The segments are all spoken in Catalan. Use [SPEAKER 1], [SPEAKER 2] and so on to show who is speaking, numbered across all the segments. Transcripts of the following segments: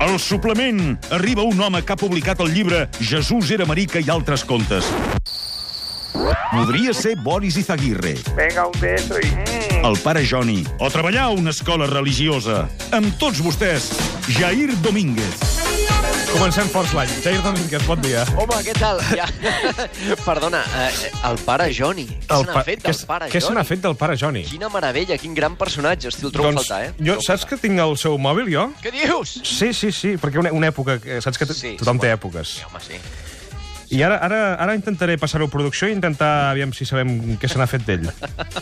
[SPEAKER 1] El suplement. Arriba un home que ha publicat el llibre Jesús era marica i altres contes. Podria ser Boris Izaguirre,
[SPEAKER 2] Venga, un beso y... mm.
[SPEAKER 1] el pare Joni, o treballar a una escola religiosa. Amb tots vostès, Jair Domínguez.
[SPEAKER 3] Comencem forts l'any. Jair Domínguez, bon dia.
[SPEAKER 4] Home, què tal? Ja. Perdona, eh, el pare Johnny. Què se n'ha fet
[SPEAKER 3] què
[SPEAKER 4] del
[SPEAKER 3] s-
[SPEAKER 4] pare
[SPEAKER 3] Què se n'ha
[SPEAKER 4] Johnny?
[SPEAKER 3] fet del pare Joni? Doncs
[SPEAKER 4] Quina meravella, quin gran personatge. Hosti, el trobo a faltar, eh? El
[SPEAKER 3] jo,
[SPEAKER 4] trobo a
[SPEAKER 3] saps que tinc el seu mòbil, jo?
[SPEAKER 4] faltar. Què dius?
[SPEAKER 3] Sí, sí, sí, perquè una, una època... que- Saps que sí,
[SPEAKER 4] Sí,
[SPEAKER 3] tothom té
[SPEAKER 4] sí.
[SPEAKER 3] èpoques.
[SPEAKER 4] Sí, home, sí.
[SPEAKER 3] I ara, ara, ara intentaré passar-ho a producció i intentar, aviam si sabem què se n'ha fet d'ell.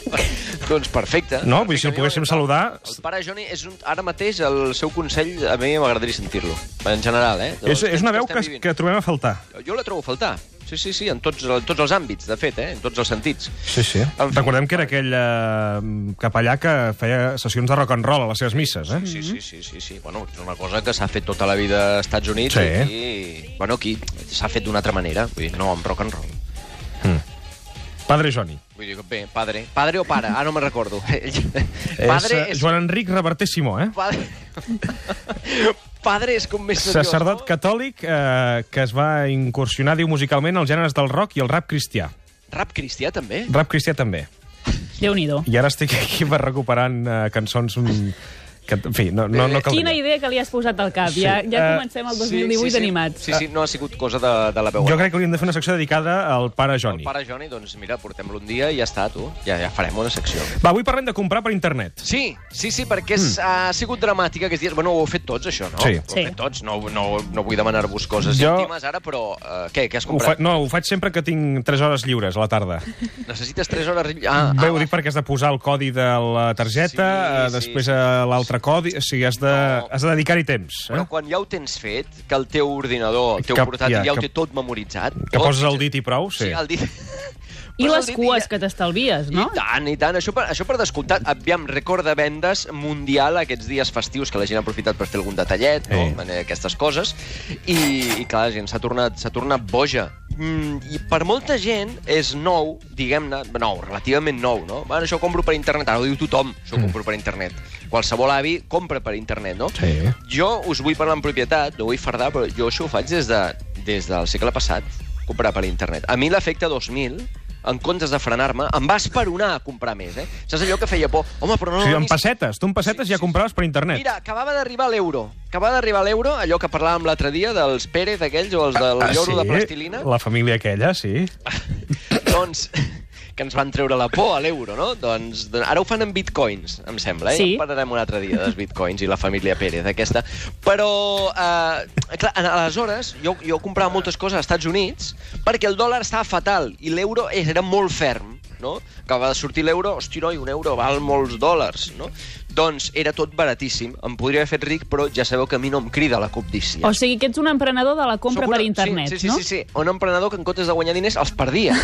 [SPEAKER 4] Doncs perfecte.
[SPEAKER 3] No,
[SPEAKER 4] Perfecte,
[SPEAKER 3] vull dir, si el
[SPEAKER 4] a mi
[SPEAKER 3] poguéssim
[SPEAKER 4] m'agrada.
[SPEAKER 3] saludar-
[SPEAKER 4] El pare Johnny és un, ara mateix el seu consell, a mi m'agradaria sentir-lo. En general, eh? Dels
[SPEAKER 3] És, és una
[SPEAKER 4] temps
[SPEAKER 3] veu
[SPEAKER 4] estem
[SPEAKER 3] que,
[SPEAKER 4] vivint.
[SPEAKER 3] que trobem a faltar.
[SPEAKER 4] Jo la trobo a faltar. Sí, sí, sí, en tots, en tots els àmbits, de fet, eh? En tots els sentits.
[SPEAKER 3] Sí, sí.
[SPEAKER 4] En fi.
[SPEAKER 3] Recordem que era aquell eh, capellà que feia sessions de rock and roll a les seves misses, eh?
[SPEAKER 4] Sí, sí, sí, sí, sí. Bueno, és una cosa que s'ha fet tota la vida als Estats Units
[SPEAKER 3] Sí.
[SPEAKER 4] i aquí... Bueno, aquí s'ha fet d'una altra manera. Vull dir, no amb rock and roll.
[SPEAKER 3] Padre Joni.
[SPEAKER 4] Vull dir, bé, padre. Padre o pare? Ah, no me'n recordo.
[SPEAKER 3] és,
[SPEAKER 4] padre
[SPEAKER 3] eh,
[SPEAKER 4] és...
[SPEAKER 3] Joan Enric Reverter Simó, eh?
[SPEAKER 4] Padre... padre és com més seriós,
[SPEAKER 3] Sacerdot
[SPEAKER 4] no?
[SPEAKER 3] catòlic eh, que es va incursionar, diu, musicalment als gèneres del rock i el rap cristià.
[SPEAKER 4] Rap cristià, també?
[SPEAKER 3] Rap cristià també.
[SPEAKER 5] Déu-n'hi-do.
[SPEAKER 3] I ara estic aquí per recuperant eh, cançons... mm, Que, en fi, no,
[SPEAKER 4] Eh,
[SPEAKER 3] no, no caldria.
[SPEAKER 5] Quina idea que li has posat al cap.
[SPEAKER 3] Sí.
[SPEAKER 5] Ja,
[SPEAKER 3] Eh,
[SPEAKER 5] ja comencem el 2018
[SPEAKER 4] sí, sí.
[SPEAKER 5] animats.
[SPEAKER 4] Sí, sí, no ha sigut cosa de, de la veu.
[SPEAKER 3] Jo crec que hauríem de fer una secció dedicada al pare
[SPEAKER 4] El
[SPEAKER 3] Joni.
[SPEAKER 4] pare Joni, doncs mira, portem-lo un dia i ja està, tu. Ja, ja farem una secció.
[SPEAKER 3] Va, avui parlem de comprar per internet.
[SPEAKER 4] Sí, sí, sí, perquè és, ha sigut dramàtic aquests dies. Bueno, ho heu fet tots, això, no?
[SPEAKER 3] Mm. Sí.
[SPEAKER 4] Ho heu
[SPEAKER 5] Sí.
[SPEAKER 4] fet tots. No, no, no vull demanar-vos coses
[SPEAKER 3] Jo-
[SPEAKER 4] íntimes ara, però eh, què, què has
[SPEAKER 3] Ho fa,
[SPEAKER 4] comprat?
[SPEAKER 3] no, ho faig sempre que tinc 3 hores lliures a la tarda.
[SPEAKER 4] Necessites 3 hores... Ah,
[SPEAKER 3] Bé, ho
[SPEAKER 4] ah,
[SPEAKER 3] dic perquè has de posar el codi de la targeta,
[SPEAKER 4] Sí,
[SPEAKER 3] eh,
[SPEAKER 4] sí,
[SPEAKER 3] després
[SPEAKER 4] sí,
[SPEAKER 3] eh, l'altre codi... O sigui, has de,
[SPEAKER 4] No.
[SPEAKER 3] has de dedicar-hi temps. Eh?
[SPEAKER 4] Però quan ja ho tens fet, que el teu ordinador, el teu
[SPEAKER 3] Que-
[SPEAKER 4] portàtil,
[SPEAKER 3] ja,
[SPEAKER 4] ja, ho
[SPEAKER 3] que-
[SPEAKER 4] té tot memoritzat...
[SPEAKER 3] Que
[SPEAKER 4] tot,
[SPEAKER 3] poses el dit i prou,
[SPEAKER 4] Sí,
[SPEAKER 3] sí.
[SPEAKER 4] el dit...
[SPEAKER 5] I
[SPEAKER 4] Poses
[SPEAKER 5] les
[SPEAKER 4] el dit
[SPEAKER 5] cues
[SPEAKER 4] ja-
[SPEAKER 5] que t'estalvies,
[SPEAKER 4] No?
[SPEAKER 5] no?
[SPEAKER 4] I tant, i tant. Això per, això per descomptat. Aviam, record de vendes mundial aquests dies festius que la gent ha aprofitat per fer algun detallet, no?
[SPEAKER 3] Sí.
[SPEAKER 4] Eh, aquestes coses. I, i clar, la gent s'ha tornat, s'ha tornat boja. Mm, I per molta gent és nou, diguem-ne, nou, relativament nou, no? Bueno, això ho compro per internet, ara ho diu tothom, això ho compro per internet. Qualsevol avi compra per internet, no?
[SPEAKER 3] Sí.
[SPEAKER 4] Jo us vull parlar en propietat, no vull fardar, però jo això ho faig des, de, des del segle passat, comprar per internet. A mi l'efecte 2000, en comptes de frenar-me, em va esperonar a comprar més, eh? Saps allò que feia por? Home, però
[SPEAKER 3] O
[SPEAKER 4] no...
[SPEAKER 3] sigui,
[SPEAKER 4] no,
[SPEAKER 3] en
[SPEAKER 4] ni-
[SPEAKER 3] pessetes. Tu en pessetes
[SPEAKER 4] Sí,
[SPEAKER 3] ja
[SPEAKER 4] sí,
[SPEAKER 3] compraves per internet.
[SPEAKER 4] Mira, acabava d'arribar l'euro. Acabava d'arribar l'euro, allò que parlàvem l'altre dia, dels Pérez aquells o els
[SPEAKER 3] Ah,
[SPEAKER 4] del lloro de plastilina.
[SPEAKER 3] La família aquella, sí.
[SPEAKER 4] Doncs que ens van treure la por a l'euro, no? Doncs do- ara ho fan amb bitcoins, em sembla, eh?
[SPEAKER 5] Sí.
[SPEAKER 4] Ja en parlarem un altre dia dels bitcoins i la família Pérez, aquesta. Però, eh, clar, a- aleshores, jo, jo comprava moltes coses als Estats Units perquè el dòlar estava fatal i l'euro és- era molt ferm, no? Acaba de sortir l'euro, hosti, noi, un euro val molts dòlars, no? Doncs era tot baratíssim. Em podria haver fet ric, però ja sabeu que a mi no em crida la cobdícia.
[SPEAKER 5] O sigui que ets un emprenedor de la compra
[SPEAKER 4] Sóc
[SPEAKER 5] per
[SPEAKER 4] una-
[SPEAKER 5] internet,
[SPEAKER 4] sí, sí,
[SPEAKER 5] no?
[SPEAKER 4] Sí, sí, sí. Un emprenedor que en comptes de guanyar diners els perdia.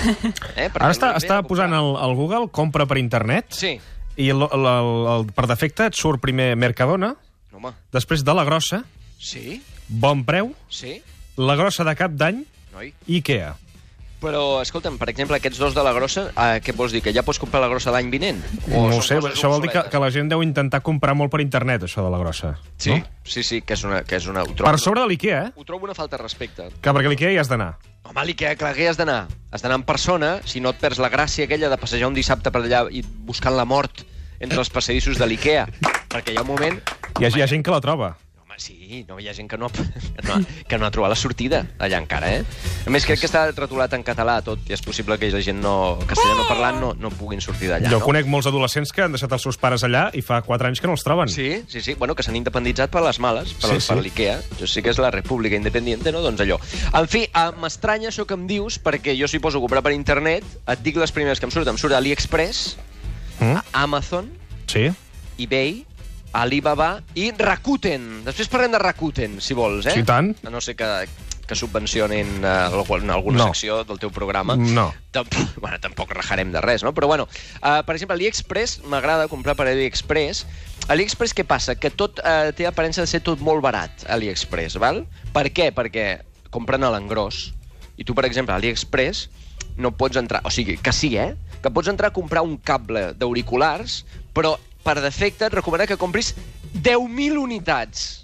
[SPEAKER 4] Eh? Perquè
[SPEAKER 3] Ara està,
[SPEAKER 4] no hi ve
[SPEAKER 3] està
[SPEAKER 4] de
[SPEAKER 3] posant
[SPEAKER 4] comprar.
[SPEAKER 3] al, al Google compra per internet
[SPEAKER 4] Sí.
[SPEAKER 3] i el, el, el, el, per defecte et surt primer Mercadona,
[SPEAKER 4] Home,
[SPEAKER 3] després de la grossa,
[SPEAKER 4] sí,
[SPEAKER 3] bon preu,
[SPEAKER 4] sí,
[SPEAKER 3] la grossa de cap d'any
[SPEAKER 4] noi.
[SPEAKER 3] i Ikea.
[SPEAKER 4] Però, escolta'm, per exemple, aquests dos de la grossa, eh, què vols dir? Que ja pots comprar la grossa l'any vinent?
[SPEAKER 3] No ho
[SPEAKER 4] són
[SPEAKER 3] sé,
[SPEAKER 4] coses
[SPEAKER 3] això vol dir que,
[SPEAKER 4] obsoletes?
[SPEAKER 3] que la gent deu intentar comprar molt per internet, això de la grossa.
[SPEAKER 4] Sí,
[SPEAKER 3] No?
[SPEAKER 4] sí, sí, que és una... Que és una ho, trobo,
[SPEAKER 3] Per sobre de l'Ikea, eh?
[SPEAKER 4] ho trobo una falta de respecte.
[SPEAKER 3] Que perquè a l'Ikea hi has d'anar.
[SPEAKER 4] Home, l'Ikea, clar, que hi has d'anar. Has d'anar en persona, si no et perds la gràcia aquella de passejar un dissabte per allà i buscant la mort entre els passadissos de l'Ikea. Perquè hi ha un moment
[SPEAKER 3] Hi ha, hi ha gent que la troba.
[SPEAKER 4] Home, sí, no hi ha gent que no, ha- que no, ha- que no ha trobat la sortida allà encara, eh? A més, crec que està retolat en català tot, i és possible que la gent no, castellano parlant no, no puguin sortir d'allà,
[SPEAKER 3] Jo
[SPEAKER 4] no?
[SPEAKER 3] conec molts adolescents que han deixat els seus pares allà i fa 4 anys que no els troben.
[SPEAKER 4] Sí, sí, sí. Bueno, que s'han independitzat per les males, per,
[SPEAKER 3] Sí,
[SPEAKER 4] sí,
[SPEAKER 3] sí.
[SPEAKER 4] sí. per l'IKEA. Jo sí que és la república independiente, no? Doncs allò. En fi, eh, m'estranya això que em dius, perquè jo si poso a comprar per internet, et dic les primeres que em surten. Em surt AliExpress,
[SPEAKER 3] Mm?
[SPEAKER 4] Amazon,
[SPEAKER 3] Sí?
[SPEAKER 4] eBay, Alibaba i Rakuten. Després parlem de Rakuten, si vols, eh?
[SPEAKER 3] Sí, i tant.
[SPEAKER 4] A no sé que, que subvencionin eh, algu- alguna
[SPEAKER 3] No.
[SPEAKER 4] no. secció del teu programa.
[SPEAKER 3] No.
[SPEAKER 4] Tampoc, bueno, tampoc rajarem de res, no? Però, bueno, uh, per exemple, AliExpress, m'agrada comprar per AliExpress. AliExpress què passa? Que tot uh, té aparença de ser tot molt barat, AliExpress, val? Per què? Perquè compren a l'engròs. I tu, per exemple, a AliExpress no pots entrar... O sigui, que sí, eh? Que pots entrar a comprar un cable d'auriculars, però per defecte et recomana que compris 10.000 unitats.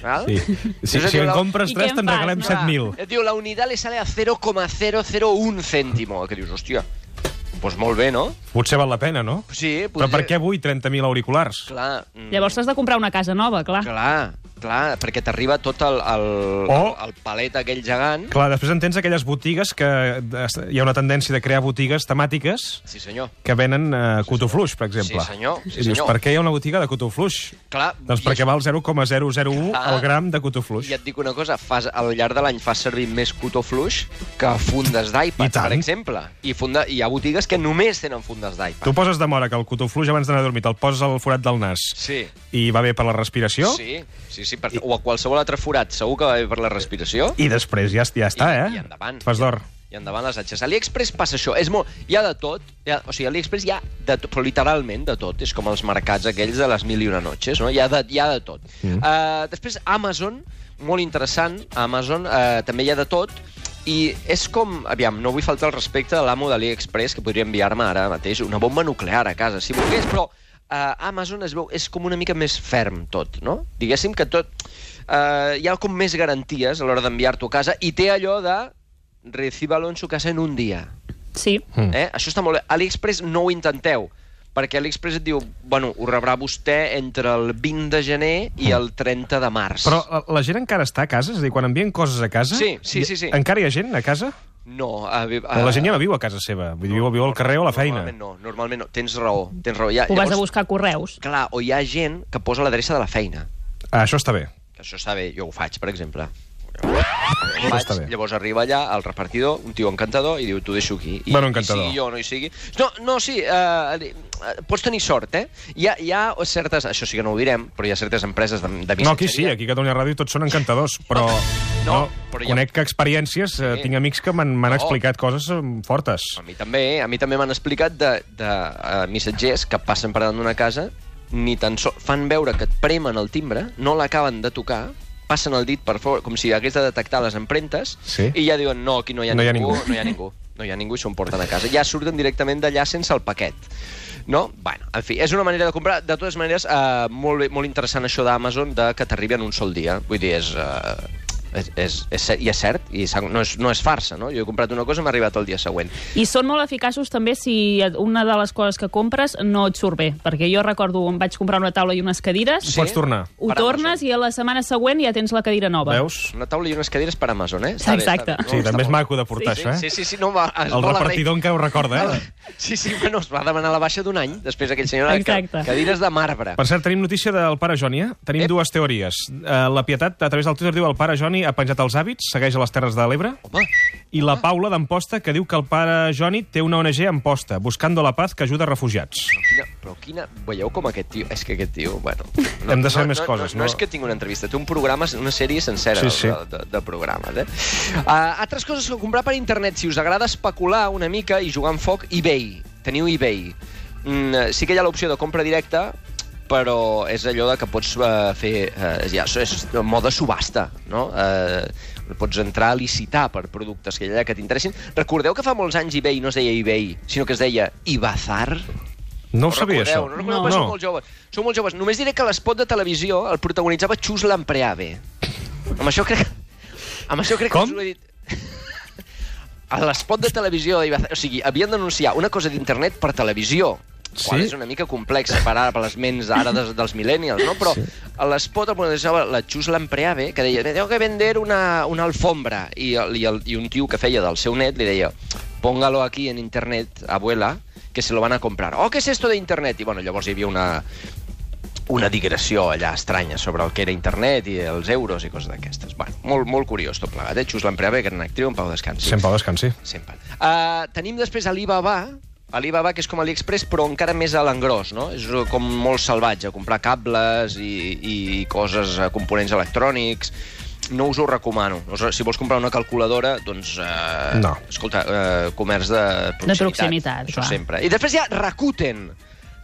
[SPEAKER 4] Val?
[SPEAKER 3] Sí. Si,
[SPEAKER 4] Llavors
[SPEAKER 3] si
[SPEAKER 4] diu
[SPEAKER 3] en
[SPEAKER 4] la-
[SPEAKER 3] compres
[SPEAKER 5] I què
[SPEAKER 3] 3,
[SPEAKER 5] en
[SPEAKER 3] te'n
[SPEAKER 5] fas,
[SPEAKER 3] regalem
[SPEAKER 5] no?
[SPEAKER 3] 7.000.
[SPEAKER 4] Et Eh, diu, la unitat li sale a 0,001 cèntimo. Que dius, hòstia, doncs pues molt bé, no?
[SPEAKER 3] Potser val la pena, no?
[SPEAKER 4] Sí,
[SPEAKER 3] Però per què avui 30.000 auriculars?
[SPEAKER 4] Clar, mm,
[SPEAKER 5] Llavors t'has de comprar una casa nova, clar.
[SPEAKER 4] clar, clar, perquè t'arriva tot el, el,
[SPEAKER 3] O-
[SPEAKER 4] el, el palet aquell gegant.
[SPEAKER 3] Clar, després entens aquelles botigues que eh, hi ha una tendència de crear botigues temàtiques
[SPEAKER 4] Sí, senyor.
[SPEAKER 3] que venen eh, cotofluix, per exemple.
[SPEAKER 4] Sí, senyor, sí,
[SPEAKER 3] I dius,
[SPEAKER 4] senyor.
[SPEAKER 3] per què hi ha una botiga de cotofluix?
[SPEAKER 4] Clar,
[SPEAKER 3] Doncs
[SPEAKER 4] i
[SPEAKER 3] perquè
[SPEAKER 4] és-
[SPEAKER 3] val 0,001
[SPEAKER 4] Ah.
[SPEAKER 3] el gram de cotofluix.
[SPEAKER 4] I et dic una cosa, fas, al llarg de l'any fas servir més cotó fluix que fundes
[SPEAKER 3] I
[SPEAKER 4] d'iPad,
[SPEAKER 3] tant.
[SPEAKER 4] per exemple. I funda, hi ha botigues que només tenen fundes d'iPad.
[SPEAKER 3] Tu poses de mora que el cotofluix abans d'anar a dormir te'l poses al forat del nas
[SPEAKER 4] Sí.
[SPEAKER 3] i va bé per la respiració
[SPEAKER 4] Sí, sí, sí per, o a qualsevol altre forat, segur que va bé per la respiració.
[SPEAKER 3] i després ja, ja està,
[SPEAKER 4] I-
[SPEAKER 3] eh?
[SPEAKER 4] i endavant.
[SPEAKER 3] Fas d'or.
[SPEAKER 4] I endavant les atxes. A l'Aliexpress passa això. És molt... Hi ha de tot. Hi ha, o sigui, a l'Aliexpress hi ha de tot, però literalment de tot. És com els mercats aquells de les mil i una noches, no? Hi ha de, hi ha de tot. Mm. Uh, després, Amazon, molt interessant. A Amazon uh, també hi ha de tot. I és com... Aviam, no vull faltar el respecte de l'amo de l'Aliexpress, que podria enviar-me ara mateix una bomba nuclear a casa, si volgués, però uh, Amazon es veu, és com una mica més ferm tot, no? Diguéssim que tot... Uh, hi ha com més garanties a l'hora d'enviar-t'ho a casa i té allò de recíbalo en su casa en un dia.
[SPEAKER 5] Sí.
[SPEAKER 3] Mm.
[SPEAKER 4] Eh? Això està molt bé. AliExpress no ho intenteu, perquè AliExpress et diu, bueno, ho rebrà vostè entre el 20 de gener i el 30 de març.
[SPEAKER 3] Però la, la gent encara està a casa? És a dir, quan envien coses a casa...
[SPEAKER 4] Sí, sí, sí, sí.
[SPEAKER 3] Encara hi ha gent a casa?
[SPEAKER 4] No, a, a,
[SPEAKER 3] O la gent ja no viu a casa seva? Vull dir, viu, viu al carrer o a la feina?
[SPEAKER 4] Ah. Normalment no, normalment no. Tens raó, tens raó. Hi ha,
[SPEAKER 5] Ho vas a buscar a correus.
[SPEAKER 4] Clar, o hi ha gent que posa l'adreça de la feina.
[SPEAKER 3] Ah, això està bé.
[SPEAKER 4] Que això està bé, jo ho faig, per exemple.
[SPEAKER 3] Això
[SPEAKER 4] Vaig,
[SPEAKER 3] està bé.
[SPEAKER 4] llavors arriba allà el repartidor, un tio encantador, i diu, t'ho deixo aquí. I,
[SPEAKER 3] Bueno, encantador.
[SPEAKER 4] I sigui jo o no hi sigui... No, no sí, eh, eh, pots tenir sort, eh? Hi ha, hi ha certes... Això sí que no ho direm, però hi ha certes empreses de, de
[SPEAKER 3] No, aquí sí,
[SPEAKER 4] missatgeria.
[SPEAKER 3] aquí a Catalunya Ràdio tots són encantadors, però...
[SPEAKER 4] No,
[SPEAKER 3] No,
[SPEAKER 4] però ja-
[SPEAKER 3] conec que experiències, eh,
[SPEAKER 4] Sí.
[SPEAKER 3] tinc amics que m'han m'han
[SPEAKER 4] No.
[SPEAKER 3] explicat coses eh, fortes.
[SPEAKER 4] A mi també, eh? a mi també m'han explicat de, de uh, missatgers que passen per davant d'una casa, ni tan sols fan veure que et premen el timbre, no l'acaben de tocar, passen el dit per fora, com si hagués de detectar les empremtes,
[SPEAKER 3] Sí.
[SPEAKER 4] i ja diuen, no, aquí no hi ha,
[SPEAKER 3] No hi ha
[SPEAKER 4] ningú,
[SPEAKER 3] ningú."
[SPEAKER 4] no hi ha ningú, no hi ha ningú, i s'ho emporten a casa. Ja surten directament d'allà sense el paquet. No? Bueno, en fi, és una manera de comprar. De totes maneres, eh, molt, bé, molt interessant això d'Amazon, de que t'arribi en un sol dia. Vull dir, és... Eh, és, és, és, cert- i és cert, i s'ha- no és, no és farsa, no? Jo he comprat una cosa i m'ha arribat el dia següent.
[SPEAKER 5] I són molt eficaços també si et- una de les coses que compres no et surt bé. Perquè jo recordo, em vaig comprar una taula i unes cadires,
[SPEAKER 4] Sí.
[SPEAKER 3] Pots tornar.
[SPEAKER 5] ho
[SPEAKER 4] Per
[SPEAKER 5] tornes
[SPEAKER 4] Amazon.
[SPEAKER 5] i a la setmana següent ja tens la cadira nova.
[SPEAKER 3] Veus?
[SPEAKER 4] Una taula i unes cadires per Amazon, eh?
[SPEAKER 5] Exacte.
[SPEAKER 4] no?
[SPEAKER 3] Sí, també
[SPEAKER 4] Està
[SPEAKER 3] és
[SPEAKER 4] molt bé.
[SPEAKER 3] maco de portar
[SPEAKER 4] Sí,
[SPEAKER 3] això, eh?
[SPEAKER 4] Sí, sí, sí, no, va, es
[SPEAKER 3] El
[SPEAKER 4] vol agrair.
[SPEAKER 3] repartidor encara ho recorda, eh?
[SPEAKER 4] Sí, sí, bueno, es va demanar la baixa d'un any, després aquell senyor... que-
[SPEAKER 5] Exacte.
[SPEAKER 4] Cadires de marbre.
[SPEAKER 3] Per cert, tenim notícia del pare Joni, eh? Tenim
[SPEAKER 4] Ep.
[SPEAKER 3] dues teories. Eh, la Pietat, a través del Twitter, diu el pare Joni ha penjat els hàbits, segueix a les Terres de l'Ebre.
[SPEAKER 4] Home,
[SPEAKER 3] I
[SPEAKER 4] Ah.
[SPEAKER 3] la Paula d'Amposta, que diu que el pare Joni té una ONG a Amposta, Buscando la Paz, que ajuda refugiats.
[SPEAKER 4] però quina, però quina... Veieu com aquest tio... És que aquest tio, bueno...
[SPEAKER 3] Hem de saber més coses,
[SPEAKER 4] no?
[SPEAKER 3] no?
[SPEAKER 4] No és que tingui una entrevista, té un programa, una sèrie sencera
[SPEAKER 3] Sí, sí.
[SPEAKER 4] De, de, de programes, eh? Uh, altres coses que comprar per internet, si us agrada especular una mica i jugar amb foc, eBay. Teniu eBay. Mm, sí que hi ha l'opció de compra directa, però és allò de que pots eh, fer... Eh, ja, és moda subhasta, no? Eh, pots entrar a licitar per productes que hi ha que t'interessin. Recordeu que fa molts anys eBay no es deia eBay, sinó que es deia Ibazar?
[SPEAKER 3] No ho sabia,
[SPEAKER 4] recordeu,
[SPEAKER 3] això.
[SPEAKER 4] No, recordeu, no. Sou molt joves. Sou molt joves. Només diré que l'espot de televisió el protagonitzava Xus Lampreave. Amb això crec... Amb això crec
[SPEAKER 3] Com?
[SPEAKER 4] que us ho he dit. A l'espot de televisió... hi va- O sigui, havien d'anunciar una cosa d'internet per televisió.
[SPEAKER 3] Sí?
[SPEAKER 4] Qual és una mica complexa per ara, per les ments ara des, dels millennials, no? Però sí. a l'espot el protagonitzava la Xus Lampreave, que deia, tengo que vender una, una alfombra. I, el- i, el, I un tio que feia del seu net li deia, póngalo aquí en internet, abuela, que se lo van a comprar. Oh, què és esto de internet? I bueno, llavors hi havia una, una digressió allà estranya sobre el que era internet i els euros i coses d'aquestes. Bueno, molt, molt curiós tot plegat, eh? Xus Lampreave, gran actriu, en pau descansi.
[SPEAKER 3] Sempre descansi.
[SPEAKER 4] Sempre. Uh, tenim després Alibaba, Alibaba, que és com AliExpress, però encara més a l'engròs, no? És eh, com molt salvatge, comprar cables i, i coses, eh, components electrònics... No us ho recomano. Us- Si vols comprar una calculadora, doncs... Eh,
[SPEAKER 3] No.
[SPEAKER 4] Escolta, eh, comerç de proximitat.
[SPEAKER 5] proximitat,
[SPEAKER 4] Això
[SPEAKER 5] clar.
[SPEAKER 4] sempre. I després hi ha Rakuten.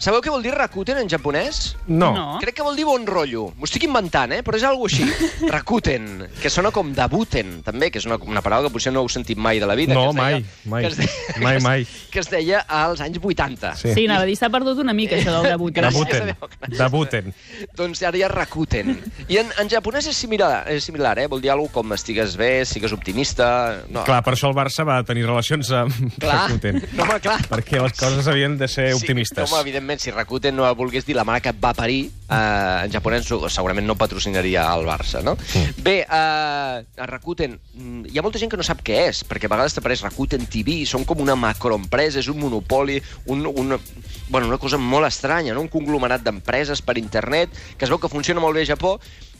[SPEAKER 4] Sabeu què vol dir Rakuten en japonès?
[SPEAKER 3] No.
[SPEAKER 5] No.
[SPEAKER 4] Crec que vol dir bon rotllo. M'ho estic inventant, eh? Però és algo així. Rakuten, que sona com debuten, també, que és una, una paraula que potser no heu sentit mai de la vida.
[SPEAKER 3] No,
[SPEAKER 4] que es deia,
[SPEAKER 3] mai, mai.
[SPEAKER 4] Que es
[SPEAKER 3] Mai,
[SPEAKER 4] deia, que es-
[SPEAKER 3] mai.
[SPEAKER 4] Que es deia als anys 80.
[SPEAKER 3] Sí.
[SPEAKER 5] Sí, anava a dir, s'ha perdut una mica, això del debut.
[SPEAKER 4] Gràcies.
[SPEAKER 5] Gràcies.
[SPEAKER 4] a
[SPEAKER 3] Debuten.
[SPEAKER 4] Déu, gràcies.
[SPEAKER 3] Debuten.
[SPEAKER 4] Doncs ara hi ha Rakuten. I en, en japonès és similar, és similar eh? Vol dir alguna com estigues bé, sigues optimista... No.
[SPEAKER 3] Clar, per això el Barça va tenir relacions amb
[SPEAKER 4] Clar.
[SPEAKER 3] Rakuten.
[SPEAKER 4] No, home, clar.
[SPEAKER 3] Perquè les coses havien de ser
[SPEAKER 4] Sí,
[SPEAKER 3] optimistes.
[SPEAKER 4] home, evidentment, si Rakuten no volgués dir la marca que et va parir, eh, en japonès no- segurament no patrocinaria el Barça, no? Bé, eh, a Rakuten, mm, hi ha molta gent que no sap què és, perquè a vegades t'apareix Rakuten TV, són com una macroempresa, és un monopoli, un, una, bueno, una cosa molt estranya, no? un conglomerat d'empreses per internet, que es veu que funciona molt bé a Japó,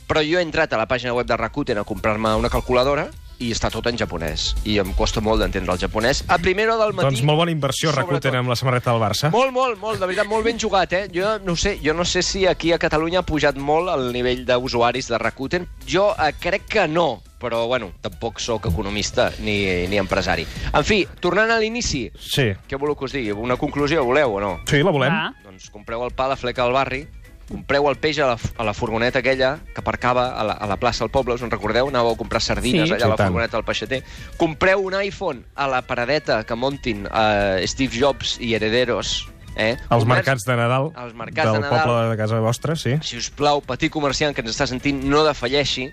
[SPEAKER 4] però jo he entrat a la pàgina web de Rakuten a comprar-me una calculadora i està tot en japonès. I em costa molt d'entendre el japonès. A primera hora del matí...
[SPEAKER 3] doncs molt bona inversió, Rakuten,
[SPEAKER 4] sobretot.
[SPEAKER 3] amb la samarreta del Barça.
[SPEAKER 4] Molt, molt, molt, de veritat, molt ben jugat, eh? Jo no ho sé, jo no sé si aquí a Catalunya ha pujat molt el nivell d'usuaris de Rakuten. Jo eh, crec que no, però, bueno, tampoc sóc economista ni, ni empresari. En fi, tornant a l'inici,
[SPEAKER 3] Sí.
[SPEAKER 4] què voleu que us digui? Una conclusió, voleu o no?
[SPEAKER 3] Sí, la volem.
[SPEAKER 5] Va.
[SPEAKER 4] Doncs compreu el pa a la fleca del barri, compreu el peix a la, a la furgoneta aquella que aparcava a la, a la plaça del poble, us en recordeu? Anàveu a comprar sardines allà
[SPEAKER 5] Sí.
[SPEAKER 4] a
[SPEAKER 3] Sí,
[SPEAKER 4] la
[SPEAKER 3] tant.
[SPEAKER 4] furgoneta del peixater. Compreu un iPhone a la paradeta que montin eh, Steve Jobs i Herederos. Eh?
[SPEAKER 3] Els
[SPEAKER 4] Comerç-
[SPEAKER 3] mercats de Nadal
[SPEAKER 4] Els mercats
[SPEAKER 3] del
[SPEAKER 4] de Nadal.
[SPEAKER 3] poble de casa vostra, sí.
[SPEAKER 4] Si us plau, petit comerciant que ens està sentint, no defalleixi,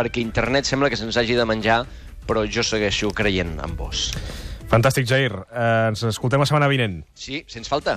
[SPEAKER 4] perquè internet sembla que se'ns hagi de menjar, però jo segueixo creient en vos.
[SPEAKER 3] Fantàstic, Jair. Eh, ens escoltem la setmana vinent.
[SPEAKER 4] Sí, sens falta.